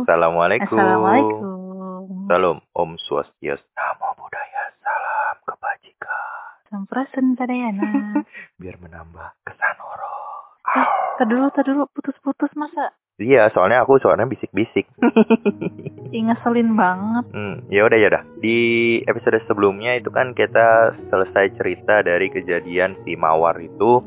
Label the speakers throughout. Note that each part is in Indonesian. Speaker 1: Assalamualaikum.
Speaker 2: Assalamualaikum.
Speaker 1: Salam Om Swastiastu. Namo Buddhaya. Salam kebajikan.
Speaker 2: Sampurasun sadayana.
Speaker 1: Biar menambah kesan horor.
Speaker 2: Terdulu, terdulu, putus-putus masa?
Speaker 1: Iya, soalnya aku suaranya bisik-bisik.
Speaker 2: Ih, ngeselin banget.
Speaker 1: Hmm, ya udah ya udah. Di episode sebelumnya itu kan kita selesai cerita dari kejadian si Mawar itu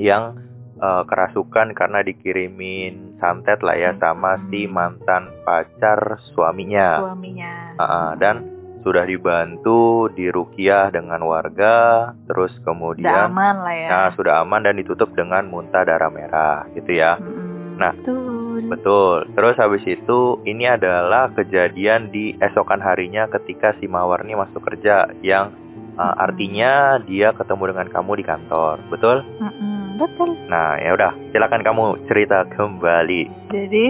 Speaker 1: yang eh, kerasukan karena dikirimin santet lah ya sama si mantan pacar suaminya.
Speaker 2: Suaminya.
Speaker 1: Ah, ah, dan sudah dibantu dirukiah dengan warga, terus
Speaker 2: Udah
Speaker 1: kemudian
Speaker 2: aman lah ya.
Speaker 1: nah sudah aman dan ditutup dengan muntah darah merah gitu ya.
Speaker 2: Mm-mm.
Speaker 1: Nah.
Speaker 2: Betul.
Speaker 1: Betul. Terus habis itu ini adalah kejadian di esokan harinya ketika si Mawar ini masuk kerja yang uh,
Speaker 2: Mhm.
Speaker 1: artinya dia ketemu dengan kamu di kantor. Betul?
Speaker 2: Mm-mm, Betul.
Speaker 1: Nah, ya udah, silakan kamu cerita kembali.
Speaker 2: Jadi,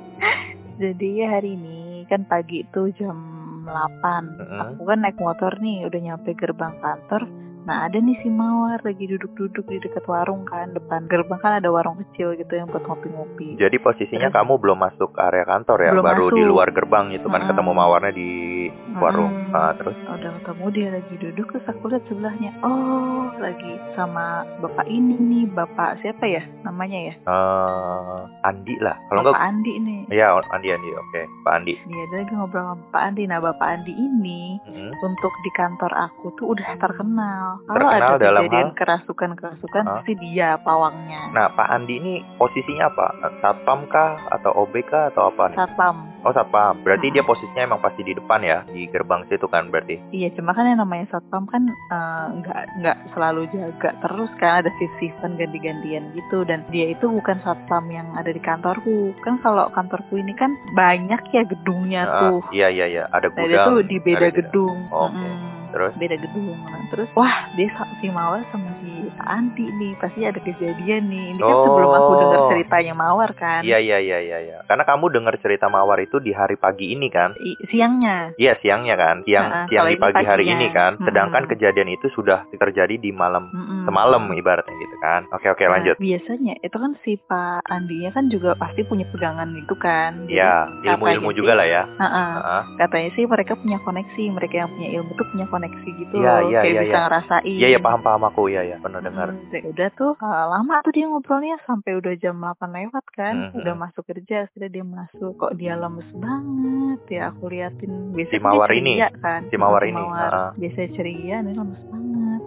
Speaker 2: jadi ya hari ini kan pagi itu jam 8.
Speaker 1: Mm-mm.
Speaker 2: Aku kan naik motor nih, udah nyampe gerbang kantor. Nah ada nih si Mawar lagi duduk-duduk di dekat warung kan depan gerbang kan ada warung kecil gitu yang buat ngopi-ngopi.
Speaker 1: Jadi posisinya
Speaker 2: Terus-
Speaker 1: kamu belum masuk area kantor ya,
Speaker 2: Belum
Speaker 1: baru di
Speaker 2: masuk.
Speaker 1: luar gerbang gitu kan
Speaker 2: Mhm.
Speaker 1: ketemu Mawarnya di warung.
Speaker 2: Hmm.
Speaker 1: Ah, terus
Speaker 2: udah ketemu dia lagi duduk terus aku lihat sebelahnya oh lagi sama bapak ini nih bapak siapa ya namanya ya
Speaker 1: eh, Andi lah. Kalau enggak
Speaker 2: bapak Andi nih
Speaker 1: ya Andi Andi, oke, Pak Andi.
Speaker 2: dia dia lagi ngobrol sama bapak Andi nah bapak Andi ini
Speaker 1: Mhm.
Speaker 2: untuk di kantor aku tuh udah terkenal kalau
Speaker 1: Terkenal
Speaker 2: ada
Speaker 1: dalam
Speaker 2: kejadian
Speaker 1: hal?
Speaker 2: kerasukan kerasukan
Speaker 1: Ah.
Speaker 2: pasti dia pawangnya
Speaker 1: Nah, Pak Andi ini posisinya apa? Satpam kah atau OB kah atau apa nih?
Speaker 2: satpam
Speaker 1: Oh, satpam. Berarti
Speaker 2: Hmm.
Speaker 1: dia posisinya emang pasti di depan ya, di gerbang situ kan berarti.
Speaker 2: iya cuma kan yang namanya satpam kan eh, nggak nggak selalu jaga terus kan ada shift shiftan ganti gantian gitu dan dia itu bukan satpam yang ada di kantorku kan kalau kantorku ini kan banyak ya gedungnya
Speaker 1: Ah,
Speaker 2: tuh
Speaker 1: iya iya iya, ada
Speaker 2: Nah, dia
Speaker 1: gudang.
Speaker 2: tuh di beda
Speaker 1: ada
Speaker 2: gedung.
Speaker 1: Oh, oke.
Speaker 2: Mm-mm.
Speaker 1: Terus?
Speaker 2: Beda gedung. Nah, terus, wah, dia sa- si Mawar sama si Anti nih. Pasti ada kejadian nih. Ini kan
Speaker 1: Oh.
Speaker 2: sebelum aku dengar ceritanya Mawar kan.
Speaker 1: Iya iya iya iya iya. Karena kamu dengar cerita Mawar itu di hari pagi ini kan?
Speaker 2: I- siangnya.
Speaker 1: Iya, siangnya kan. Siang
Speaker 2: Ah, ah,
Speaker 1: siang
Speaker 2: kalau
Speaker 1: di
Speaker 2: ini
Speaker 1: pagi hari
Speaker 2: paginya.
Speaker 1: ini kan.
Speaker 2: Hmm.
Speaker 1: Sedangkan kejadian itu sudah terjadi di malam
Speaker 2: Mm-mm.
Speaker 1: semalam ibaratnya gitu kan. Oke oke,
Speaker 2: Mm-hmm. Nah,
Speaker 1: lanjut.
Speaker 2: biasanya itu kan si Pak Andinya kan juga pasti punya pegangan gitu kan. Jadi,
Speaker 1: Ya, ilmu-ilmu
Speaker 2: katanya
Speaker 1: juga
Speaker 2: sih-
Speaker 1: lah ya.
Speaker 2: ah, ah.
Speaker 1: Heeh.
Speaker 2: katanya sih mereka punya koneksi. Mereka yang punya ilmu tuh punya koneksi gitu.
Speaker 1: Iya,
Speaker 2: loh.
Speaker 1: iya,
Speaker 2: Kayak
Speaker 1: iya,
Speaker 2: bisa
Speaker 1: iya.
Speaker 2: ngerasain.
Speaker 1: Iya ya paham paham aku ya ya pernah dengar.
Speaker 2: Mm, ya udah tuh uh, lama tuh dia ngobrolnya sampai udah jam 8 lewat kan
Speaker 1: Mhm.
Speaker 2: udah masuk kerja sudah dia masuk kok dia lemes banget ya aku liatin biasanya
Speaker 1: Si
Speaker 2: kan dia
Speaker 1: Mawar ini.
Speaker 2: ceria kan
Speaker 1: Si Mawar
Speaker 2: Si
Speaker 1: ini,
Speaker 2: Mawar.
Speaker 1: ha-ha.
Speaker 2: biasanya ceria dia lemes banget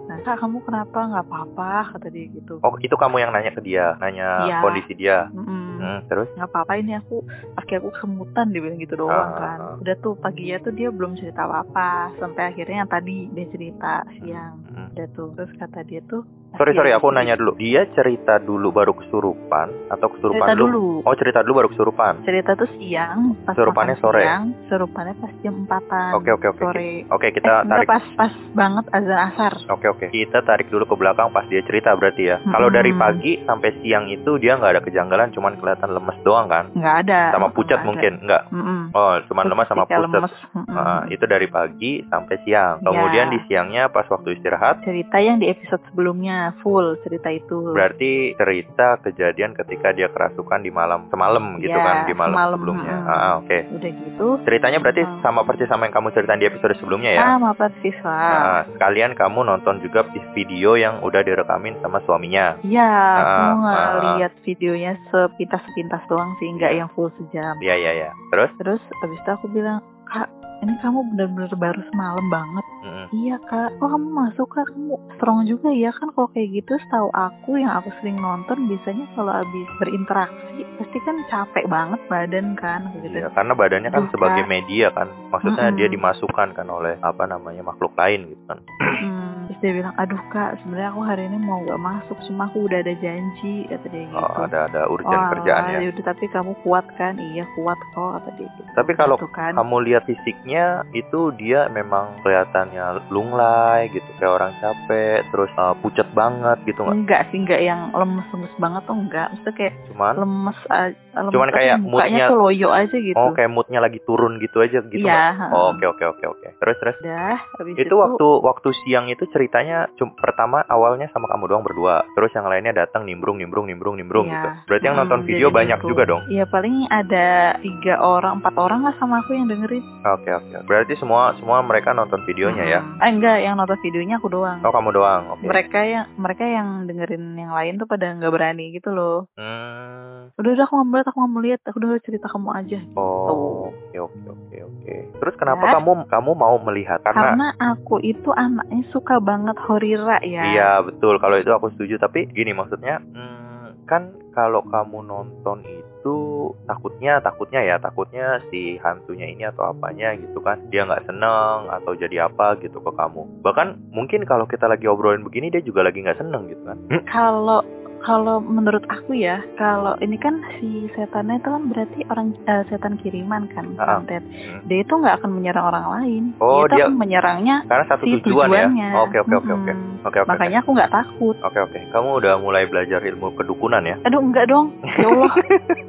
Speaker 2: nah kak kamu kenapa nggak apa-apa kata dia gitu
Speaker 1: Oh, itu kamu yang nanya ke dia, nanya
Speaker 2: Iya.
Speaker 1: kondisi dia.
Speaker 2: Mm-mm.
Speaker 1: Hmm, terus?
Speaker 2: nggak apa-apa ini aku kaki aku kesemutan dia bilang gitu doang
Speaker 1: Ah,
Speaker 2: kan
Speaker 1: ah, ah.
Speaker 2: udah tuh paginya tuh dia belum cerita apa-apa sampai akhirnya yang tadi dia cerita siang
Speaker 1: Hmm.
Speaker 2: udah tuh terus kata dia tuh
Speaker 1: Sorry
Speaker 2: "Pasti
Speaker 1: sorry
Speaker 2: ada
Speaker 1: aku
Speaker 2: cerita."
Speaker 1: nanya dulu. Dia cerita dulu baru kesurupan atau kesurupan
Speaker 2: cerita dulu
Speaker 1: Oh cerita dulu baru kesurupan.
Speaker 2: cerita tuh siang pas
Speaker 1: Surupannya
Speaker 2: makan
Speaker 1: sore.
Speaker 2: siang surupannya pas jam empatan
Speaker 1: Oke oke oke.
Speaker 2: sore
Speaker 1: Oke
Speaker 2: Ah, eh,
Speaker 1: kita
Speaker 2: enggak,
Speaker 1: tarik.
Speaker 2: pas pas banget azan asar
Speaker 1: Oke oke. Kita tarik dulu ke belakang pas dia cerita berarti ya.
Speaker 2: Mm-mm.
Speaker 1: Kalau dari pagi sampai siang itu dia nggak ada kejanggalan, cuman kelihatan lemes doang kan?
Speaker 2: nggak ada
Speaker 1: Sama pucat
Speaker 2: Nggak ada.
Speaker 1: mungkin nggak?
Speaker 2: Mm-mm.
Speaker 1: Oh cuman
Speaker 2: Terus
Speaker 1: lemas sama
Speaker 2: ketika
Speaker 1: pucat.
Speaker 2: lemes, mm-mm.
Speaker 1: Ah, itu dari pagi sampai siang. Kemudian
Speaker 2: Ya.
Speaker 1: di siangnya pas waktu istirahat
Speaker 2: cerita yang di episode sebelumnya full cerita itu
Speaker 1: Berarti cerita kejadian ketika dia kerasukan di malam semalam gitu
Speaker 2: Ya,
Speaker 1: kan di malam
Speaker 2: semalam,
Speaker 1: sebelumnya. Ah,
Speaker 2: mm.
Speaker 1: ah, oke.
Speaker 2: udah gitu
Speaker 1: Ceritanya berarti
Speaker 2: Hmm.
Speaker 1: sama persis sama yang kamu ceritain di episode sebelumnya ya.
Speaker 2: sama persis lah
Speaker 1: Ah, sekalian kamu nonton juga video yang udah direkamin sama suaminya.
Speaker 2: Iya, aku
Speaker 1: Ah, ah, ah.
Speaker 2: ngeliat videonya sepintas-sepintas doang sih, nggak
Speaker 1: Iya.
Speaker 2: yang full sejam.
Speaker 1: Iya iya iya. Terus?
Speaker 2: Terus abis itu aku bilang, Kak, ini kamu bener-bener baru semalam banget.
Speaker 1: Mm-mm.
Speaker 2: Iya kak, kok kamu masuk kak? Kamu strong juga ya kan kalau kayak gitu setahu aku yang aku sering nonton biasanya kalau habis berinteraksi pasti kan capek banget badan kan kayak gitu.
Speaker 1: Iya, karena badannya kan
Speaker 2: Duh,
Speaker 1: sebagai
Speaker 2: Kak.
Speaker 1: media kan. Maksudnya
Speaker 2: Mm-mm.
Speaker 1: dia dimasukkan kan oleh apa namanya makhluk lain gitu kan.
Speaker 2: Hmm, Terus dia bilang, aduh kak sebenarnya aku hari ini mau gak masuk cuma aku udah ada janji kata dia gitu.
Speaker 1: Oh, ada ada urgen
Speaker 2: alah,
Speaker 1: kerjaan ya.
Speaker 2: yaudah, tapi kamu kuat kan? Iya kuat kok kata dia gitu.
Speaker 1: Tapi kalau
Speaker 2: Gitu kan.
Speaker 1: kamu lihat fisiknya itu dia memang kelihatannya lunglai gitu kayak orang capek terus eh, pucat banget gitu nggak
Speaker 2: Enggak sih, enggak yang lemes-lemes banget tuh enggak. Maksudnya kayak
Speaker 1: cuman
Speaker 2: lemes aja. Lemes
Speaker 1: Cuman
Speaker 2: tapi
Speaker 1: kayak
Speaker 2: mukanya
Speaker 1: moodnya-
Speaker 2: tuh loyo aja gitu.
Speaker 1: oh kayak moodnya lagi turun gitu aja gitu nggak?
Speaker 2: Iya. Gitu. heeh.
Speaker 1: Oh, oke oke oke oke terus terus
Speaker 2: Udah, habis
Speaker 1: itu waktu waktu siang itu ceritanya cum- pertama awalnya sama kamu doang berdua, terus yang lainnya datang nimbrung nimbrung nimbrung nimbrung
Speaker 2: Iya.
Speaker 1: gitu. Berarti yang nonton
Speaker 2: Hmm,
Speaker 1: video
Speaker 2: jadi
Speaker 1: banyak
Speaker 2: gitu.
Speaker 1: juga dong.
Speaker 2: Iya paling ada tiga orang, empat orang lah sama aku yang dengerin.
Speaker 1: Oke oke. Berarti semua semua mereka nonton videonya ya.
Speaker 2: Hmm. Ah, enggak, yang nonton videonya aku doang.
Speaker 1: Oh kamu doang. Oke.
Speaker 2: Mereka yang mereka yang dengerin yang lain tuh pada nggak berani gitu loh.
Speaker 1: Hmm.
Speaker 2: Udah udah aku nggak mau lihat, aku nggak mau lihat, aku udah cerita kamu aja.
Speaker 1: Oh, oke oke oke oke. Terus kenapa
Speaker 2: Ya.
Speaker 1: kamu kamu mau melihat? Karena
Speaker 2: Karena aku itu anaknya suka banget horira ya.
Speaker 1: iya betul kalau itu aku setuju. Tapi gini maksudnya, hmm, kan kalau kamu nonton itu takutnya takutnya ya takutnya si hantunya ini atau apanya gitu kan dia nggak seneng atau jadi apa gitu ke kamu. Bahkan mungkin kalau kita lagi obrolin begini dia juga lagi nggak seneng gitu kan. Hmm,
Speaker 2: Kalau kalau menurut aku ya, kalau ini kan si setannya itu kan berarti orang eh, setan kiriman kan,
Speaker 1: Ah.
Speaker 2: santet.
Speaker 1: Hmm.
Speaker 2: Dia itu nggak akan menyerang orang lain.
Speaker 1: Oh, dia-
Speaker 2: dia itu akan menyerangnya
Speaker 1: Karena satu
Speaker 2: si
Speaker 1: tujuan ya.
Speaker 2: tujuannya.
Speaker 1: Oke oke oke oke.
Speaker 2: Mm-mm.
Speaker 1: Oke oke.
Speaker 2: Makanya aku nggak takut.
Speaker 1: Oke oke. Kamu udah mulai belajar ilmu kedukunan ya.
Speaker 2: Aduh enggak dong, ya Allah.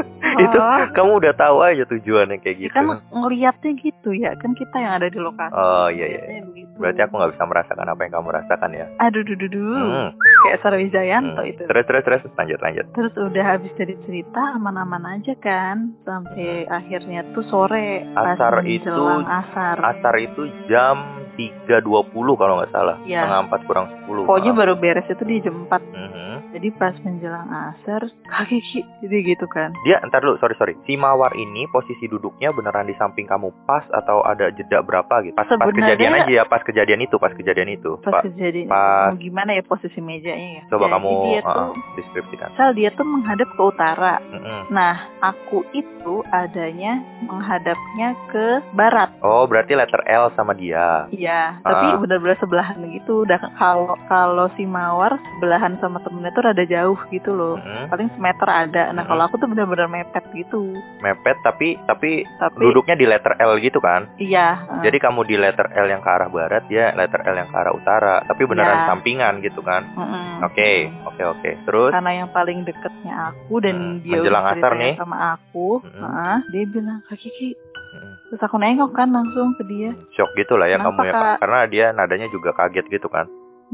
Speaker 1: itu
Speaker 2: Ah,
Speaker 1: kamu udah tahu aja tujuannya kayak
Speaker 2: ya
Speaker 1: gitu.
Speaker 2: kan ngeliatnya gitu ya, kan kita yang ada di lokasi.
Speaker 1: Oh, iya, iya.
Speaker 2: Ngeliatnya begitu.
Speaker 1: Berarti aku nggak bisa merasakan apa yang kamu rasakan ya.
Speaker 2: Aduh, duh, duh, duh.
Speaker 1: Hmm,
Speaker 2: kayak Sarwijayanto
Speaker 1: hmm.
Speaker 2: itu.
Speaker 1: Terus terus terus lanjut lanjut.
Speaker 2: Terus udah habis dari cerita aman-aman aja kan sampai akhirnya tuh sore
Speaker 1: Iya. Asar
Speaker 2: pas
Speaker 1: itu-
Speaker 2: menjelang asar.
Speaker 1: Asar itu jam 3.20 kalau nggak salah.
Speaker 2: Iya.
Speaker 1: Setengah empat kurang 10.
Speaker 2: Pokoknya
Speaker 1: maaf.
Speaker 2: baru beres itu di jam 4
Speaker 1: Mhm.
Speaker 2: Jadi pas menjelang asar kaki ki jadi gitu kan.
Speaker 1: Dia entar dulu, sorry sorry. Si mawar ini posisi duduknya beneran di samping kamu pas atau ada jeda berapa gitu? Pas, pas
Speaker 2: Sebenarnya-
Speaker 1: kejadian aja ya, pas kejadian itu, pas kejadian itu.
Speaker 2: Pas
Speaker 1: Pak,
Speaker 2: kejadian
Speaker 1: pas-
Speaker 2: mau gimana ya posisi mejanya ya.
Speaker 1: coba
Speaker 2: Jadi
Speaker 1: kamu
Speaker 2: dia
Speaker 1: uh,
Speaker 2: tuh
Speaker 1: deskripsikan.
Speaker 2: misal dia tuh menghadap ke utara.
Speaker 1: Mhm.
Speaker 2: Nah, aku itu adanya menghadapnya ke barat.
Speaker 1: Oh, berarti letter L sama dia.
Speaker 2: Iya, tapi
Speaker 1: Ah.
Speaker 2: benar-benar sebelahan gitu. Udah kalau kalau si Mawar sebelahan sama temennya tuh rada jauh gitu loh.
Speaker 1: Mhm.
Speaker 2: Paling semeter ada. Nah,
Speaker 1: Mm-mm.
Speaker 2: kalau aku tuh benar-benar mepet gitu.
Speaker 1: Mepet tapi tapi
Speaker 2: Tapi
Speaker 1: duduknya di letter L gitu kan?
Speaker 2: iya, eh,
Speaker 1: Jadi kamu di letter L yang ke arah barat, dia letter L yang ke arah utara, tapi beneran
Speaker 2: Ya.
Speaker 1: sampingan gitu kan?
Speaker 2: mm-mm.
Speaker 1: Oke, oke, oke. Terus,
Speaker 2: Karena yang paling deketnya aku
Speaker 1: Hmm,
Speaker 2: dan dia
Speaker 1: menjelang
Speaker 2: udah
Speaker 1: asar
Speaker 2: ceritanya
Speaker 1: nih.
Speaker 2: sama aku,
Speaker 1: Mm-mm.
Speaker 2: ah, dia bilang Kak Kiki.
Speaker 1: Mm-mm.
Speaker 2: Terus aku nengok kan langsung ke dia.
Speaker 1: hmm, shock gitu lah ya
Speaker 2: Kenapa,
Speaker 1: kamu ya,
Speaker 2: Kak?
Speaker 1: karena dia nadanya juga kaget gitu kan?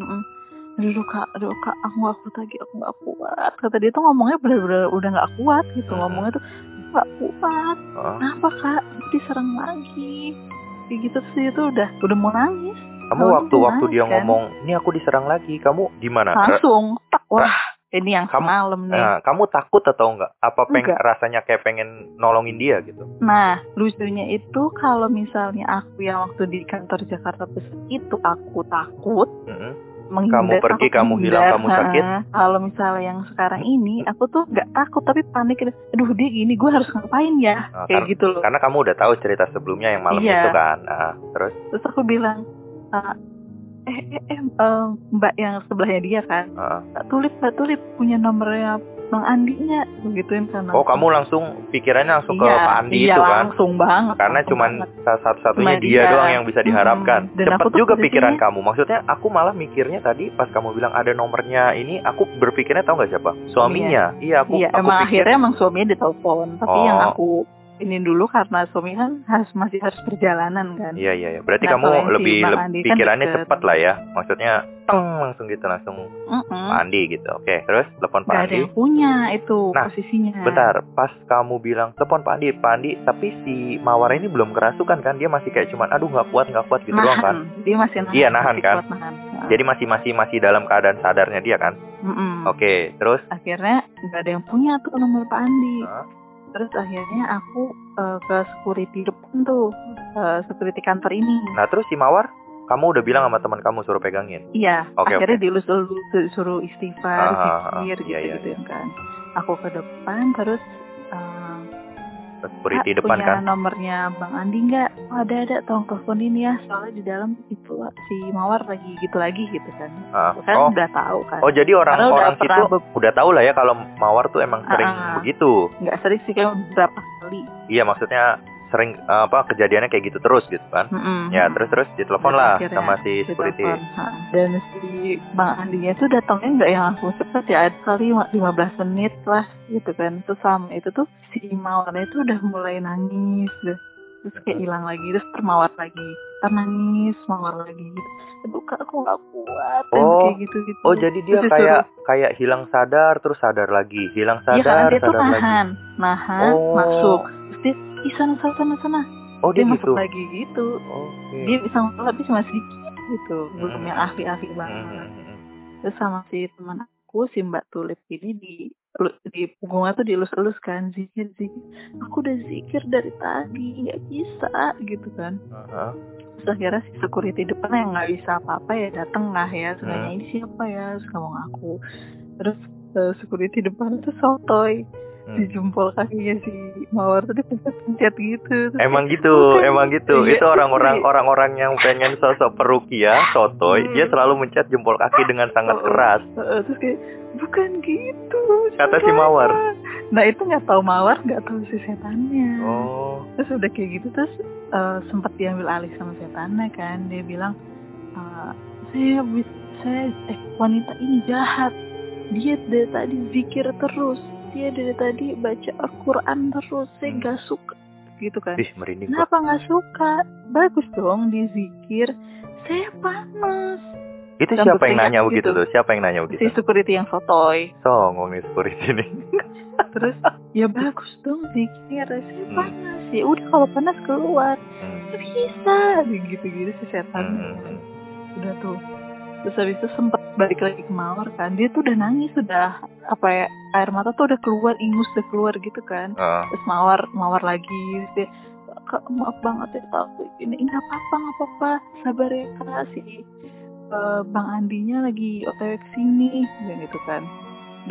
Speaker 2: Mm-mm. Aduh kak, aduh kak, aku gak kuat lagi, aku gak kuat. Kata dia tuh ngomongnya bener-bener udah gak kuat gitu.
Speaker 1: Mm-mm.
Speaker 2: Ngomongnya tuh "Aku gak kuat.
Speaker 1: Heeh.
Speaker 2: Kenapa kak? Aku Diserang lagi. Kayak gitu terus dia tuh udah, udah mau nangis.
Speaker 1: Kamu
Speaker 2: Awalnya
Speaker 1: waktu waktu dia
Speaker 2: gimana, kan?
Speaker 1: ngomong, ini aku diserang lagi, kamu gimana? Ra-
Speaker 2: Langsung, tak, wah ini yang
Speaker 1: Nah, eh, ah, Kamu-
Speaker 2: semalam nih.
Speaker 1: Nah, kamu takut atau enggak? Apa peng
Speaker 2: Enggak.
Speaker 1: rasanya kayak pengen nolongin dia gitu?
Speaker 2: Nah, lucunya itu kalau misalnya aku yang waktu di kantor Jakarta Pusat itu aku takut.
Speaker 1: Mm-mm.
Speaker 2: menghindar,
Speaker 1: Kamu pergi,
Speaker 2: takut
Speaker 1: kamu hilang,
Speaker 2: menghindar.
Speaker 1: kamu sakit.
Speaker 2: Heeh. Kalau misalnya yang sekarang ini, aku tuh nggak takut tapi panik. Aduh dia gini, gue harus ngapain ya?
Speaker 1: Nah,
Speaker 2: Kayak
Speaker 1: kar-
Speaker 2: gitu loh.
Speaker 1: Karena kamu udah tahu cerita sebelumnya yang malam
Speaker 2: Iya.
Speaker 1: itu kan. Nah, terus,
Speaker 2: Terus aku bilang, "Ah, eh, eh, eh, eh, mbak yang sebelahnya dia kan,
Speaker 1: Heeh.
Speaker 2: mbak tulip, mbak tulip punya nomornya bang Andi nya, begituin kan.
Speaker 1: oh kamu langsung pikirannya langsung ke
Speaker 2: Iya,
Speaker 1: Pak Andi
Speaker 2: iya,
Speaker 1: itu kan?
Speaker 2: langsung banget.
Speaker 1: karena
Speaker 2: langsung
Speaker 1: cuman
Speaker 2: banget.
Speaker 1: sa- satu-satunya
Speaker 2: Cuman
Speaker 1: dia
Speaker 2: dia.
Speaker 1: doang yang bisa diharapkan.
Speaker 2: Mm-mm. Dan
Speaker 1: Cepat
Speaker 2: aku tuh
Speaker 1: juga
Speaker 2: posisinya-
Speaker 1: pikiran kamu. Maksudnya aku malah mikirnya tadi pas kamu bilang ada nomornya ini, aku berpikirnya tahu nggak siapa? Suaminya. Iya, aku
Speaker 2: Iya,
Speaker 1: aku
Speaker 2: emang
Speaker 1: pikir.
Speaker 2: akhirnya emang suaminya ditelepon. Tapi
Speaker 1: Oh.
Speaker 2: yang aku ini dulu karena suami kan harus masih harus perjalanan kan.
Speaker 1: Iya iya iya. Berarti
Speaker 2: Nah,
Speaker 1: kamu
Speaker 2: kalau yang si
Speaker 1: lebih,
Speaker 2: Bang
Speaker 1: lebih-
Speaker 2: Andi kan
Speaker 1: pikirannya
Speaker 2: deket.
Speaker 1: cepat lah ya. Maksudnya teng langsung gitu langsung
Speaker 2: Mm-mm.
Speaker 1: Pak Andi gitu. Oke, terus telepon Pak
Speaker 2: Gak Hmm? ada
Speaker 1: Andi.
Speaker 2: yang punya itu
Speaker 1: Nah,
Speaker 2: posisinya.
Speaker 1: Bentar, pas kamu bilang telepon Pak Andi, Pak Andi, tapi si Mawar ini belum kerasukan kan? Dia masih kayak cuman aduh nggak kuat nggak kuat gitu doang kan?
Speaker 2: nahan. Dia masih nahan.
Speaker 1: Iya, nahan
Speaker 2: masih
Speaker 1: kan?
Speaker 2: kuat nahan. Nah,
Speaker 1: Jadi masih masih masih dalam keadaan sadarnya dia kan?
Speaker 2: mm-mm.
Speaker 1: Oke, terus
Speaker 2: Akhirnya gak ada yang punya tuh nomor Pak Andi.
Speaker 1: Hah?
Speaker 2: Terus akhirnya aku eh, ke security depan tuh. eh, security kantor ini.
Speaker 1: Nah terus si Mawar, kamu udah bilang sama teman kamu suruh pegangin.
Speaker 2: Iya,
Speaker 1: Oke,
Speaker 2: akhirnya dielus dulu suruh istighfar,
Speaker 1: Ah, ah, ah.
Speaker 2: zikir
Speaker 1: Iya, iya,
Speaker 2: gitu-gitu kan. Aku ke depan terus eh,
Speaker 1: Security
Speaker 2: Pak,
Speaker 1: depan
Speaker 2: punya
Speaker 1: kan.
Speaker 2: nomornya Bang Andi nggak? Oh, ada ada, tolong teleponin ya. Soalnya di dalam itu si Mawar lagi gitu lagi gitu kan.
Speaker 1: Ah.
Speaker 2: Kan
Speaker 1: Oh,
Speaker 2: udah tahu kan.
Speaker 1: oh jadi orang
Speaker 2: Karena udah
Speaker 1: orang situ
Speaker 2: pernah be-
Speaker 1: udah tahu lah ya kalau Mawar tuh emang sering
Speaker 2: Ah, ah.
Speaker 1: begitu.
Speaker 2: nggak sering sih kayak beberapa kali.
Speaker 1: Iya maksudnya sering eh, apa kejadiannya kayak gitu terus gitu kan.
Speaker 2: Mm-mm.
Speaker 1: Ya terus terus ditelepon
Speaker 2: Mm-hmm.
Speaker 1: lah
Speaker 2: Terus akhirnya
Speaker 1: sama si security.
Speaker 2: Ditelepon, ya, ha. Dan si Bang Andinya tuh datangnya nggak yang langsung cepet ya, ada kali 15 menit lah gitu kan. Terus sama itu tuh si Mawarnya itu udah mulai nangis. Udah, terus kayak hilang lagi terus termawar lagi nangis mawar lagi gitu aduh kak aku gak kuat dan
Speaker 1: Oh.
Speaker 2: kayak gitu gitu
Speaker 1: Oh jadi dia kayak kayak hilang sadar terus sadar lagi hilang
Speaker 2: dia kan
Speaker 1: sadar
Speaker 2: dia tuh
Speaker 1: sadar lagi.
Speaker 2: nahan nahan
Speaker 1: Oh.
Speaker 2: masuk terus dia ih sana sana sana sana
Speaker 1: Oh
Speaker 2: dia
Speaker 1: dia, gitu.
Speaker 2: masuk lagi gitu
Speaker 1: Oke.
Speaker 2: dia bisa ngobrol tapi cuma sedikit gitu belum
Speaker 1: Hmm.
Speaker 2: yang ahli ahli banget
Speaker 1: Hmm, hmm, hmm.
Speaker 2: terus sama si teman aku si mbak tulip ini di di punggungnya tuh dielus-elus kan zikir zikir aku udah zikir dari tadi nggak bisa gitu kan
Speaker 1: Aha.
Speaker 2: terus akhirnya si security depan yang nggak bisa apa-apa ya dateng lah ya terus
Speaker 1: Hmm.
Speaker 2: nanya, ini siapa ya terus ngomong aku terus eh, security depan tuh sotoy
Speaker 1: Hmm.
Speaker 2: di jempol kakinya si mawar tadi pencet-pencet gitu terus
Speaker 1: Emang
Speaker 2: kayak,
Speaker 1: gitu,
Speaker 2: "Bukan,
Speaker 1: emang gitu.
Speaker 2: Iya,
Speaker 1: Itu orang-orang
Speaker 2: terus
Speaker 1: orang-orang yang pengen sosok perukia, sotoy,
Speaker 2: Hmm.
Speaker 1: dia selalu mencet jempol kaki dengan sangat
Speaker 2: Oh.
Speaker 1: keras.
Speaker 2: Heeh, terus kayak bukan gitu
Speaker 1: Kata si
Speaker 2: caranya."
Speaker 1: Mawar.
Speaker 2: nah itu nggak tahu mawar nggak tahu si setannya
Speaker 1: Oh,
Speaker 2: terus udah kayak gitu terus eh, sempat diambil alih sama setannya kan dia bilang eh, saya bi- saya eh, wanita ini jahat dia dari tadi zikir terus dia dari tadi baca Al-Quran terus saya
Speaker 1: Hmm.
Speaker 2: nggak suka gitu kan
Speaker 1: ih iya. merinding gua.
Speaker 2: kenapa nggak suka bagus dong dia zikir saya panas
Speaker 1: Itu
Speaker 2: Dan
Speaker 1: siapa yang
Speaker 2: berteriak
Speaker 1: nanya begitu
Speaker 2: gitu.
Speaker 1: tuh? Siapa yang nanya
Speaker 2: si
Speaker 1: begitu?
Speaker 2: security yang sotoy
Speaker 1: Songong nih security ini.
Speaker 2: terus ya bagus dong zikir saya
Speaker 1: Hmm.
Speaker 2: panas ya udah kalau panas keluar
Speaker 1: Hmm.
Speaker 2: "Nggak bisa gitu gitu si setan
Speaker 1: Hmm, hmm, hmm.
Speaker 2: udah tuh terus habis itu sempet balik lagi ke mawar kan dia tuh udah nangis sudah apa ya air mata tuh udah keluar ingus udah keluar gitu kan
Speaker 1: Ah,
Speaker 2: terus mawar mawar lagi terus dia kak maaf banget ya Kak. ini ini apa apa nggak apa apa sabar ya kak si eh, bang Andinya lagi otw kesini dan gitu kan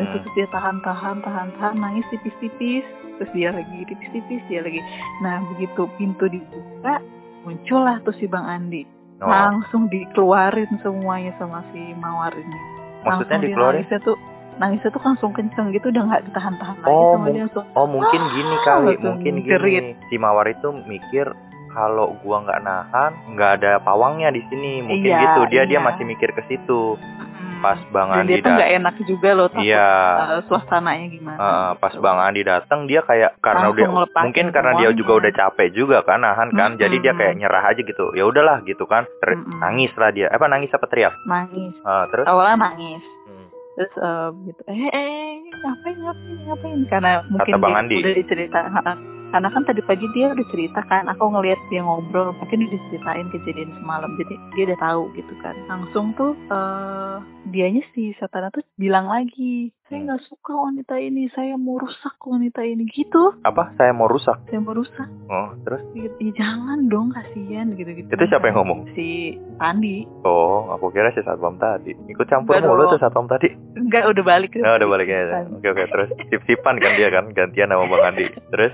Speaker 2: dan
Speaker 1: Hmm.
Speaker 2: terus dia tahan tahan tahan tahan nangis tipis tipis terus dia lagi tipis tipis dia lagi nah begitu pintu dibuka muncullah tuh si bang Andi
Speaker 1: oh.
Speaker 2: langsung dikeluarin semuanya sama si mawar ini
Speaker 1: Maksudnya
Speaker 2: langsung dia
Speaker 1: dikeluarin?
Speaker 2: nangisnya tuh nangisnya tuh langsung kenceng gitu udah nggak ditahan tahan lagi
Speaker 1: Oh,
Speaker 2: sama
Speaker 1: mung-
Speaker 2: dia langsung
Speaker 1: Oh mungkin gini
Speaker 2: Ah,
Speaker 1: kali,
Speaker 2: langsung
Speaker 1: mungkin
Speaker 2: jerit.
Speaker 1: gini. Si Mawar itu mikir kalau gua nggak nahan, nggak ada pawangnya di sini. Mungkin
Speaker 2: Iya,
Speaker 1: gitu. Dia dia
Speaker 2: iya.
Speaker 1: masih mikir ke situ.
Speaker 2: "Hmm."
Speaker 1: Pas Bang
Speaker 2: dan dia
Speaker 1: Andi
Speaker 2: tuh
Speaker 1: datang.
Speaker 2: nggak enak juga loh takut
Speaker 1: Iya.
Speaker 2: eh, suasananya gimana
Speaker 1: Heeh, Eh, pas
Speaker 2: gitu.
Speaker 1: Bang Andi datang dia kayak karena
Speaker 2: Langsung
Speaker 1: udah
Speaker 2: Ah, ngelepasin
Speaker 1: mungkin karena dia
Speaker 2: semuanya.
Speaker 1: juga udah capek juga kan nahan kan. Jadi dia
Speaker 2: Mm-mm.
Speaker 1: kayak nyerah aja gitu. Ya udahlah gitu kan. Ter-
Speaker 2: Mm-mm. Oh.
Speaker 1: nangis lah dia. Eh, Apa nangis apa teriak?
Speaker 2: nangis
Speaker 1: Ah, terus
Speaker 2: awalnya nangis
Speaker 1: Hmm.
Speaker 2: terus eh, gitu eh, eh, eh, ngapain ngapain ngapain karena mungkin
Speaker 1: Bang
Speaker 2: dia
Speaker 1: Andi.
Speaker 2: udah dicerita ha-ha. karena kan tadi pagi dia udah cerita kan aku ngelihat dia ngobrol mungkin udah diceritain kejadian semalam jadi dia udah tahu gitu kan langsung tuh eh dianya si satana tuh bilang lagi
Speaker 1: Hmm.
Speaker 2: saya nggak suka wanita ini saya mau rusak wanita ini gitu
Speaker 1: apa? Saya mau rusak.
Speaker 2: saya mau rusak
Speaker 1: Oh, terus
Speaker 2: gitu. "Ih, jangan dong kasihan gitu gitu
Speaker 1: itu siapa yang ngomong?
Speaker 2: si Andi
Speaker 1: Oh, aku kira si Satpam tadi. Ikut campur
Speaker 2: Enggak
Speaker 1: mulu
Speaker 2: dong.
Speaker 1: tuh Satpam tadi.
Speaker 2: enggak udah balik
Speaker 1: Nah, udah balik aja.
Speaker 2: Andi.
Speaker 1: Oke, oke. Terus sip-sipan kan dia kan gantian sama Bang Andi. Terus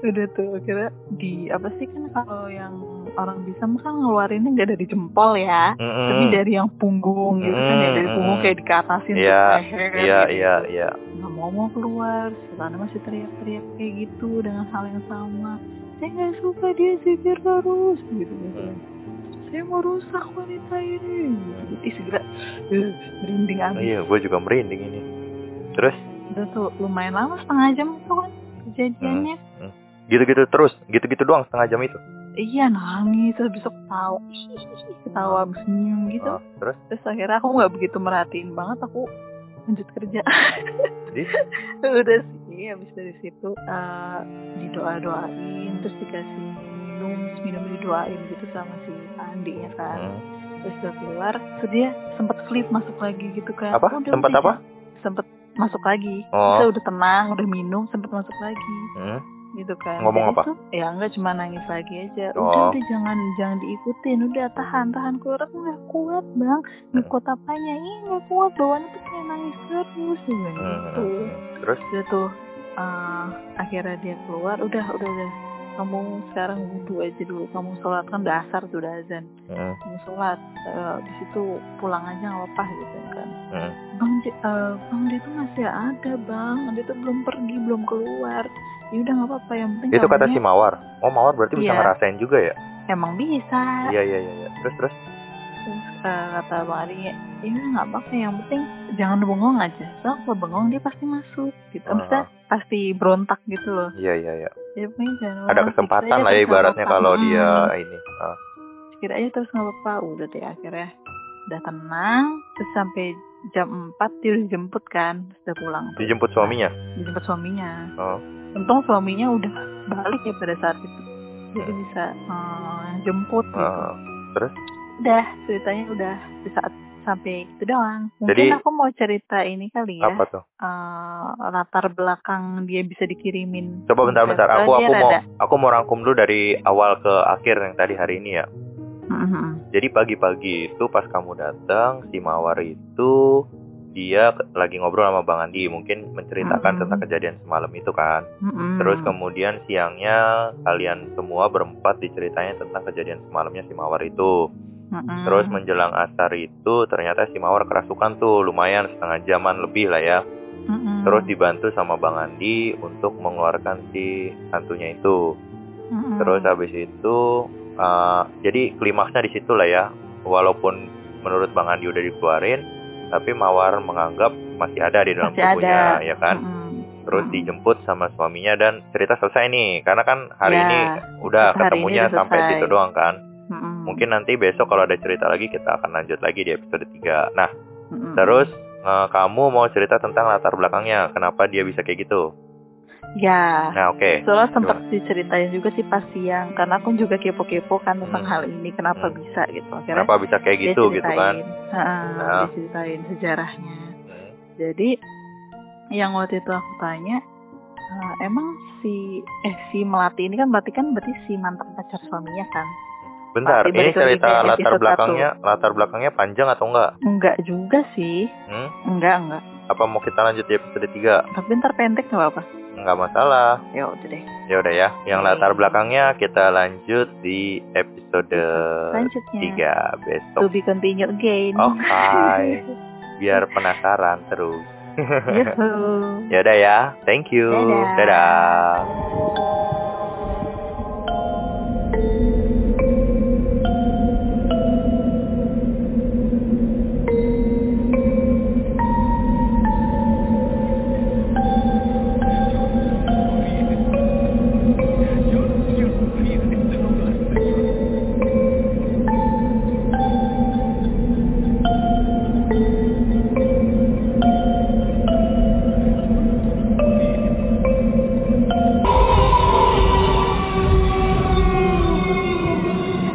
Speaker 2: udah tuh kira di apa sih kan kalau yang orang bisa mah kan ngeluarinnya nggak dari jempol ya tapi
Speaker 1: mm
Speaker 2: dari yang punggung gitu kan ya dari punggung
Speaker 1: Mm-mm.
Speaker 2: kayak dikatasin tuh
Speaker 1: Hmm. Iya,
Speaker 2: leher
Speaker 1: Iya,
Speaker 2: gitu.
Speaker 1: iya, iya.
Speaker 2: nggak mau mau keluar karena masih teriak-teriak kayak gitu dengan hal yang sama saya nggak suka dia zikir terus gitu gitu
Speaker 1: Hmm.
Speaker 2: saya mau rusak wanita ini gitu Ih, segera eh, merinding abis
Speaker 1: Iya, gue juga merinding ini. Terus
Speaker 2: udah tuh lumayan lama setengah jam tuh kan kejadiannya
Speaker 1: gitu-gitu terus, gitu-gitu doang setengah jam itu.
Speaker 2: iya nangis terus besok tahu ketawa senyum gitu
Speaker 1: Ah, terus
Speaker 2: terus akhirnya aku nggak begitu merhatiin banget aku lanjut kerja
Speaker 1: Jadi?
Speaker 2: udah sih habis dari situ eh, didoa doain terus dikasih minum minum didoain gitu sama si Andi ya kan
Speaker 1: hmm.
Speaker 2: terus udah keluar terus dia sempat sleep masuk lagi gitu kan
Speaker 1: apa?
Speaker 2: Udah,
Speaker 1: Tempat
Speaker 2: udah,
Speaker 1: apa?
Speaker 2: sempet masuk lagi
Speaker 1: Oh.
Speaker 2: Terus udah tenang udah minum sempet masuk lagi
Speaker 1: Hmm.
Speaker 2: gitu kan
Speaker 1: Ngomong
Speaker 2: Jadi
Speaker 1: apa?
Speaker 2: tuh, ya enggak cuma nangis lagi aja
Speaker 1: Oh.
Speaker 2: udah udah jangan jangan diikutin udah tahan tahan keluar aku nggak kuat
Speaker 1: Eh.
Speaker 2: bang ngikut apanya ih nggak kuat bawaan tuh kayak nangis terus dia bilang
Speaker 1: Hmm, hmm,
Speaker 2: gitu
Speaker 1: hmm. Terus
Speaker 2: udah tuh eh, akhirnya dia keluar udah udah udah kamu sekarang wudhu aja dulu kamu sholat kan udah asar tuh udah azan
Speaker 1: hmm,
Speaker 2: kamu sholat eh, di situ pulang aja nggak apa gitu kan
Speaker 1: hmm.
Speaker 2: bang dia, eh, bang dia tuh masih ada bang dia tuh belum pergi belum keluar ya udah nggak apa-apa yang penting
Speaker 1: itu kata
Speaker 2: kabarnya
Speaker 1: si Mawar. Oh, Mawar berarti bisa
Speaker 2: Iya.
Speaker 1: ngerasain juga ya?
Speaker 2: emang bisa
Speaker 1: Iya, iya, iya, iya. Terus terus
Speaker 2: Terus, eh, kata Bang Adi ya nggak apa-apa yang penting jangan bengong aja soalnya kalau bengong dia pasti masuk gitu maksudnya pasti berontak gitu loh
Speaker 1: Iya iya iya.
Speaker 2: jadi pokoknya jangan
Speaker 1: Ada
Speaker 2: bengong,
Speaker 1: kesempatan lah ya
Speaker 2: sikit aja terus nggak
Speaker 1: ibaratnya
Speaker 2: apa-apa.
Speaker 1: kalau dia
Speaker 2: Mm,
Speaker 1: ini. Ah,
Speaker 2: sikit aja terus nggak apa-apa udah deh akhirnya udah tenang terus sampai jam 4 dia udah dijemput kan terus udah pulang tuh.
Speaker 1: dijemput suaminya.
Speaker 2: dijemput suaminya
Speaker 1: Oh.
Speaker 2: untung suaminya udah balik ya pada saat itu jadi bisa eh, jemput gitu
Speaker 1: Iya. ah.
Speaker 2: udah ceritanya udah di saat sampai itu doang mungkin
Speaker 1: Jadi-
Speaker 2: aku mau cerita ini kali ya
Speaker 1: Apa tuh?
Speaker 2: eh, latar belakang dia bisa dikirimin
Speaker 1: Coba bentar-bentar.
Speaker 2: Soalnya
Speaker 1: Aku
Speaker 2: dia
Speaker 1: aku mau
Speaker 2: rada-
Speaker 1: aku mau rangkum dulu dari awal ke akhir yang tadi hari ini ya.
Speaker 2: Mhm.
Speaker 1: Jadi pagi-pagi itu pas kamu datang, si Mawar itu dia ke- lagi ngobrol sama Bang Andi, mungkin menceritakan
Speaker 2: Mm-mm.
Speaker 1: tentang kejadian semalam itu kan.
Speaker 2: Mhm.
Speaker 1: Terus kemudian siangnya kalian semua berempat diceritain tentang kejadian semalamnya si Mawar itu.
Speaker 2: Mhm.
Speaker 1: Terus menjelang asar itu ternyata si Mawar kerasukan tuh lumayan setengah jaman lebih lah ya.
Speaker 2: Mhm.
Speaker 1: Terus dibantu sama Bang Andi untuk mengeluarkan si hantunya itu.
Speaker 2: Mhm.
Speaker 1: Terus habis itu uh, jadi klimaksnya di situ lah ya. Walaupun menurut Bang Andi udah dikeluarin, tapi Mawar menganggap masih ada di dalam
Speaker 2: Masih ada.
Speaker 1: tubuhnya, ya kan?
Speaker 2: Mhm.
Speaker 1: Terus
Speaker 2: Mm.
Speaker 1: dijemput sama suaminya dan cerita selesai nih. Karena kan hari
Speaker 2: Ya,
Speaker 1: ini udah
Speaker 2: cerita hari
Speaker 1: ketemunya
Speaker 2: ini udah
Speaker 1: sampai
Speaker 2: selesai.
Speaker 1: situ doang kan.
Speaker 2: Mhm.
Speaker 1: Mungkin nanti besok kalau ada cerita lagi kita akan lanjut lagi di episode 3. Nah,
Speaker 2: Mhm.
Speaker 1: terus uh, kamu mau cerita tentang latar belakangnya, kenapa dia bisa kayak gitu?
Speaker 2: ya
Speaker 1: Nah, oke.
Speaker 2: Soalnya sempat diceritain juga sih pas siang karena aku juga kepo-kepo kan tentang
Speaker 1: Hmm.
Speaker 2: hal ini kenapa
Speaker 1: Hmm.
Speaker 2: bisa gitu akhirnya
Speaker 1: Kenapa bisa kayak
Speaker 2: dia
Speaker 1: gitu gitu kan?
Speaker 2: ceritain Heeh,
Speaker 1: Nah.
Speaker 2: dia ceritain sejarahnya
Speaker 1: Hmm.
Speaker 2: jadi yang waktu itu aku tanya eh, emang si eh si melati ini kan berarti kan berarti si mantan pacar suaminya kan
Speaker 1: Bentar,
Speaker 2: Pasti
Speaker 1: ini
Speaker 2: balik lagi
Speaker 1: cerita
Speaker 2: ke
Speaker 1: latar
Speaker 2: episode
Speaker 1: belakangnya, latar belakangnya panjang atau enggak?
Speaker 2: enggak juga sih
Speaker 1: Hmm?
Speaker 2: enggak enggak
Speaker 1: Apa mau kita lanjut di episode 3?
Speaker 2: tapi ntar pendek nggak apa-apa
Speaker 1: Enggak masalah.
Speaker 2: ya udah deh
Speaker 1: Ya udah ya, yang
Speaker 2: Oke.
Speaker 1: latar belakangnya kita lanjut di episode
Speaker 2: selanjutnya
Speaker 1: 3
Speaker 2: to
Speaker 1: besok.
Speaker 2: be continued again
Speaker 1: Oke. Biar penasaran terus.
Speaker 2: Yuhu.
Speaker 1: ya udah ya. Thank you.
Speaker 2: Dadah.
Speaker 1: Dadah.